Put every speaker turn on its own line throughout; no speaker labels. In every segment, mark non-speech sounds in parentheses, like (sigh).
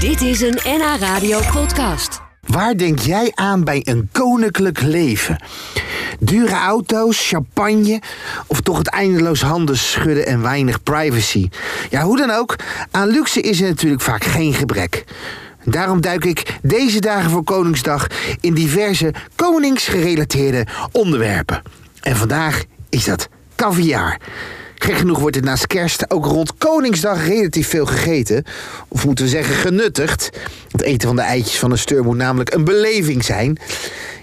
Dit is een NH Radio podcast.
Waar denk jij aan bij een koninklijk leven? Dure auto's, champagne of toch het eindeloos handen schudden en weinig privacy? Ja, hoe dan ook, aan luxe is er natuurlijk vaak geen gebrek. Daarom duik ik deze dagen voor Koningsdag in diverse koningsgerelateerde onderwerpen. En vandaag is dat caviar. Gek genoeg wordt het naast kerst ook rond Koningsdag relatief veel gegeten. Of moeten we zeggen genuttigd. Het eten van de eitjes van een steur moet namelijk een beleving zijn.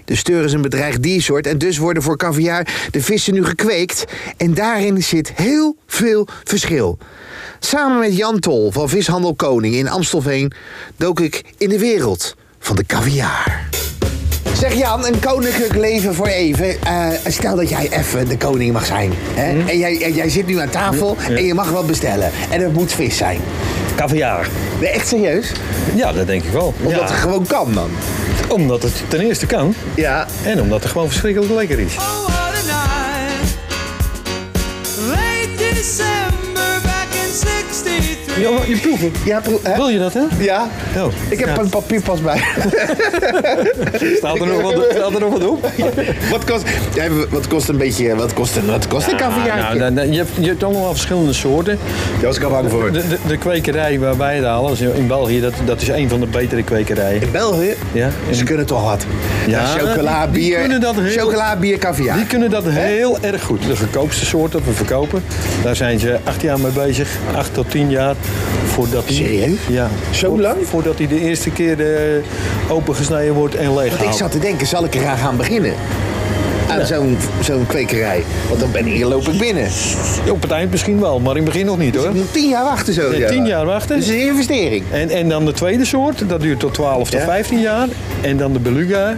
De steur is een bedreigd diersoort en dus worden voor caviar de vissen nu gekweekt. En daarin zit heel veel verschil. Samen met Jan Tol van Vishandel Koning in Amstelveen dook ik in de wereld van de caviar. Zeg Jan, een koninklijk leven voor even. Eh, stel dat jij even de koning mag zijn. Hè? En, jij, en jij zit nu aan tafel en je mag wat bestellen. En het moet vis zijn.
Caviar.
Nee, echt serieus?
Ja, dat denk ik wel.
Omdat
Ja,
het gewoon kan dan.
omdat het ten eerste kan
Ja.
en omdat het gewoon verschrikkelijk lekker is.
Oh, what a night. Late December back in 63.
Ja, maar je proeven.
Ja, pro- hè?
Wil je dat, hè?
ja.
Oh,
Ik heb
ja.
een papierpas bij.
Staat er nog wat, staat er nog wat op?
(laughs) wat, kost, jij, wat kost een beetje, wat kost een, wat kost een
Ah,
caviartje?
nou, dan- dan- je, hebt, je hebt allemaal verschillende soorten.
Daar was ik al bang voor.
De, de, de kwekerij waar wij het halen is in België, dat, dat is een van de betere kwekerijen.
In België?
Ja, in-
Ze kunnen toch wat.
Ja,
chocola,
die- die
bier.
kunnen dat heel-
Chocola, bier, caviar.
Die kunnen dat heel erg goed. De goedkoopste soort dat we verkopen, daar zijn ze acht jaar mee bezig. Acht tot tien jaar. Voordat die,
Serieus?
Ja.
Zo
Vo-
lang?
Voordat hij de eerste keer eh, opengesneden wordt en leeg
Ik zat te denken, zal ik eraan gaan beginnen? Aan zo'n, zo'n kwekerij. Want dan ben ik, loop ik binnen.
Op het eind misschien wel, maar in het begin nog niet hoor.
Moet Tien jaar wachten zo.
Nee,
ja.
tien jaar wachten.
Dat is een investering.
En, en dan de tweede soort, dat duurt tot 12 tot
Ja.
15 jaar. En dan de beluga,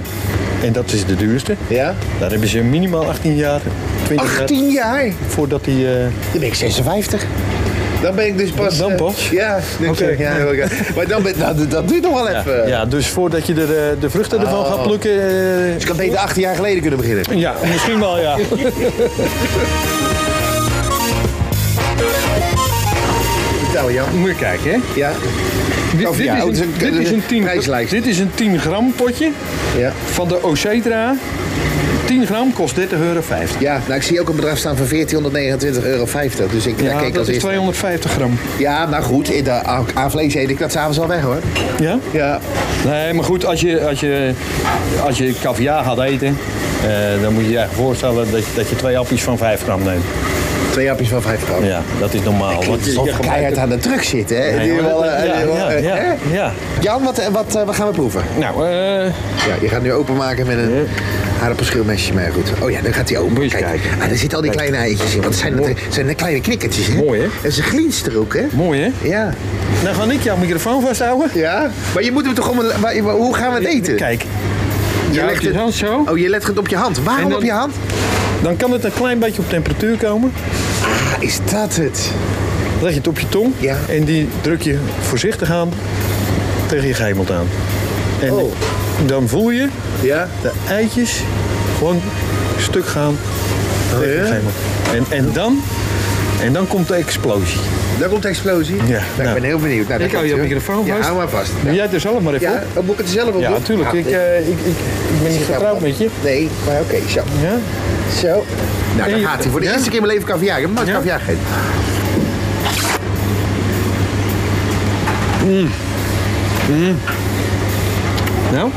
en dat is de duurste.
Ja?
Daar hebben ze minimaal 18 jaar, 20 jaar
18 jaar?
voordat die... eh,
Dan ben ik 56. Dan ben ik dus pas...
Dan
eh,
pas?
Ja, dan
Oké.
ben ik- ja, oké. Maar dan ben, nou, dat- dat duurt nog wel even. Oh.
ja, ja, dus voordat je er, eh, de vruchten ervan gaat plukken... eh,
Dus ik had beter 18 jaar geleden kunnen beginnen.
ja, misschien wel ja.
Vertel Jan.
Moet je kijken hè.
Ja?
Dit,
Of ja, oh, het
dit,
is
is
een-
een, dit is een 10
prijslijst.
Dit is een 10 gram potje
Ja.
van de Ocetra. 10 gram kost 30,50 euro.
Ja, nou ik zie ook een bedrag staan van 1429,50 euro. Dus ik daar
Ja,
keek
dat
als
is
eerste.
250 gram.
Ja, nou goed, in de, aan aan vlees eet ik dat s'avonds al weg hoor.
Ja?
Ja.
Nee, maar goed, als je, als je, als je caviar gaat eten, eh, dan moet je je eigenlijk voorstellen dat, dat je twee appjes van 5 gram neemt.
Twee appjes van 5 gram.
Ja, dat is normaal. Want je
Alsof we
gebruikt
keihard aan de truck zitten, hè?
Nee,
Die
maar
wel,
dat-
eh,
ja,
die wel,
ja,
eh,
ja,
hè?
ja.
Jan, wat, eh, wat, eh, wat gaan we proeven?
Nou, eh
Ja, je gaat nu openmaken met een aardappelschilmesje, maar goed. Oh ja, dan gaat hij open.
Moet je eens kijken.
Ah, daar zitten al die kleine eitjes in. Want het zijn, dat, het zijn de kleine knikkertjes, hè?
Mooi, hè?
En ze glinsteren ook, hè?
mooi hè?
Ja.
Nou ga ik jouw microfoon vasthouden.
Ja? Maar je moet hem toch om een... maar- maar hoe gaan we het eten?
Kijk,
je
houdt je hand zo.
Oh, je legt het op je hand. Waarom
En dan-
op je hand?
dan kan het een klein beetje op temperatuur komen.
Ah, is dat het?
Dan leg je het op je tong
Ja.
en die druk je voorzichtig aan tegen je gehemeld aan. En
Oh.
dan voel je
Ja?
de eitjes gewoon stuk gaan tegen je
Oh, ja?
gehemel. En, en, dan, en dan komt de explosie.
Daar komt de explosie.
Ja,
Nou,
nou.
Ik ben heel benieuwd. Nou, daar
Ik
komt
hou je
ie, hoor.
microfoon
Ja,
vast.
hou maar vast.
Doe jij het er zelf maar even
Ja,
op?
dan moet ik het er zelf op
Ja,
doen?
natuurlijk.
Ah,
ik, eh, ik, ik, ik ben niet getrouwd met je.
Nee, maar oké, zo.
Ja?
Zo. Nou, daar
je-
gaat hij. Voor de
Ja?
eerste keer in mijn leven caviar. Ik heb nooit
Ja?
caviar gegeten.
Nou?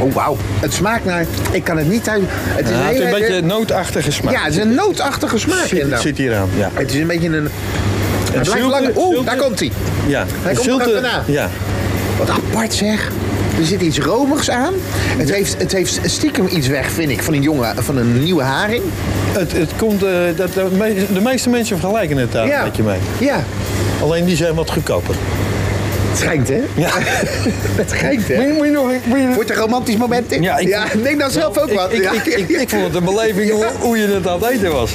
Oh, wauw. Het smaakt naar... Ik kan het niet thuis... Het is
Ja,
een,
het is
hele-
een beetje nootachtige smaak.
eh, Ja, het is een nootachtige smaak
zit,
inderdaad.
zit hier aan. Ja.
Het is een beetje een... Het blijft
zilte-
lang... Oeh,
zilte-
daar komt hij.
ja.
Hij komt er
Zilte-
achterna.
Ja.
Wat apart zeg. Er zit iets romigs aan. Het heeft, het heeft stiekem iets weg, vind ik, van een, jonge, van een nieuwe haring.
Het, het komt, eh, dat, de, me- de meeste mensen vergelijken het daar een beetje mee.
Ja.
Alleen die zijn wat goedkoper.
Het schijnt, hè?
Ja.
(laughs) Het schijnt, hè?
Moet je, moet je nog... Moet je-
Wordt een romantisch moment in?
Ja, ik-
neem dan zelf ook wat.
Ik,
ja.
ik, ik, ik vond het een
(laughs)
beleving hoe, hoe je het aan het eten was.